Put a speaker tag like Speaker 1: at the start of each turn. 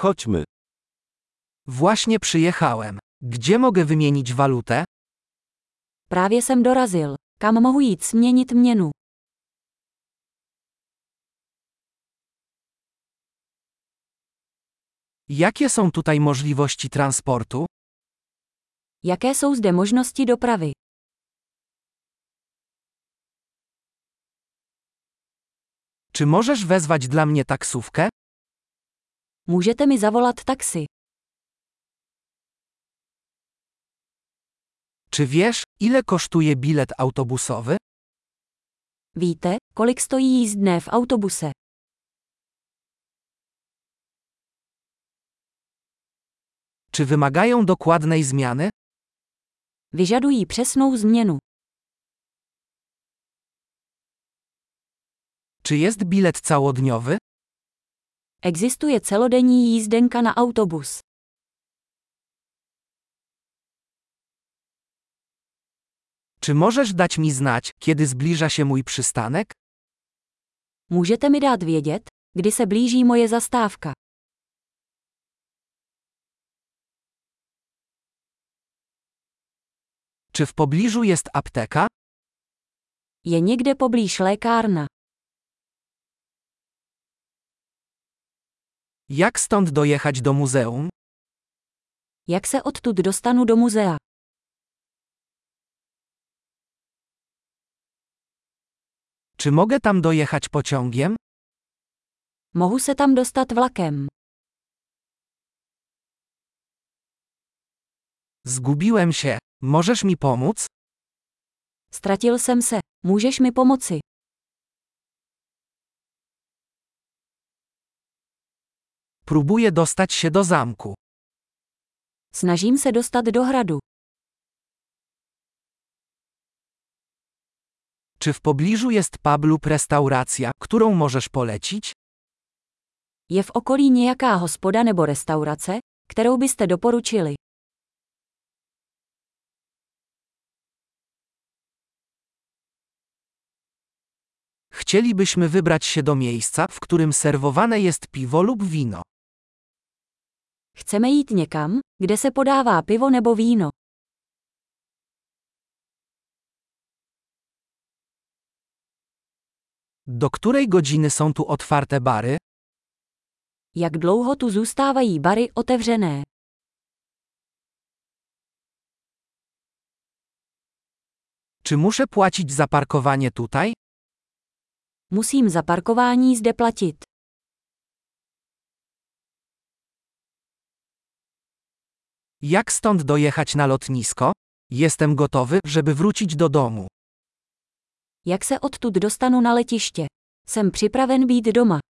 Speaker 1: Chodźmy.
Speaker 2: Właśnie przyjechałem. Gdzie mogę wymienić walutę?
Speaker 3: Právě jsem dorazil. Kam mohu jít směnit měnu?
Speaker 2: Jakie są tutaj możliwości transportu?
Speaker 3: Jaké jsou zde možnosti dopravy?
Speaker 2: Czy możesz wezwać dla mnie taksówkę?
Speaker 3: Můžete mi zavolat taxi?
Speaker 2: Czy wiesz, ile kosztuje bilet autobusowy?
Speaker 3: Víte, kolik stojí jízdné v autobuse?
Speaker 2: Czy wymagają dokładnej zmiany?
Speaker 3: Vyžadují přesnou změnu.
Speaker 2: Czy jest bilet całodniowy?
Speaker 3: Existuje celodenní jízdenka na autobus.
Speaker 2: Czy możesz dać mi znać, kiedy zbliża się mój przystanek?
Speaker 3: Můžete mi dát vědět, kdy se blíží moje zastávka?
Speaker 2: Czy w pobliżu jest apteka?
Speaker 3: Je někde poblíž lékárna.
Speaker 2: Jak stąd dojechać do muzeum?
Speaker 3: Jak se odtud dostanu do muzea?
Speaker 2: Czy mogę tam dojechać pociągiem?
Speaker 3: Mohu se tam dostat vlakem.
Speaker 2: Zgubiłem się. Możesz mi pomóc?
Speaker 3: Ztratil jsem se. Můžeš mi pomoci?
Speaker 2: Próbuję dostać się do zamku.
Speaker 3: Snažím se dostat do hradu.
Speaker 2: Czy w pobliżu jest pub lub restauracja, którą możesz polecić?
Speaker 3: Je v okolí nějaká hospoda nebo restaurace, kterou byste doporučili?
Speaker 2: Chcielibyśmy wybrać się do miejsca, w którym serwowane jest piwo lub wino.
Speaker 3: Chceme jít někam, kde se podává pivo nebo víno.
Speaker 2: Do której godziny są tu otwarte bary?
Speaker 3: Jak dlouho tu zůstávají bary otevřené?
Speaker 2: Czy muszę płacić za parkowanie tutaj?
Speaker 3: Musím za parkování zde platit.
Speaker 2: Jak stąd dojechać na lotnisko? Jestem gotowy, żeby wrócić do domu.
Speaker 3: Jak se odtud dostanu na letiště? Jsem připraven být doma.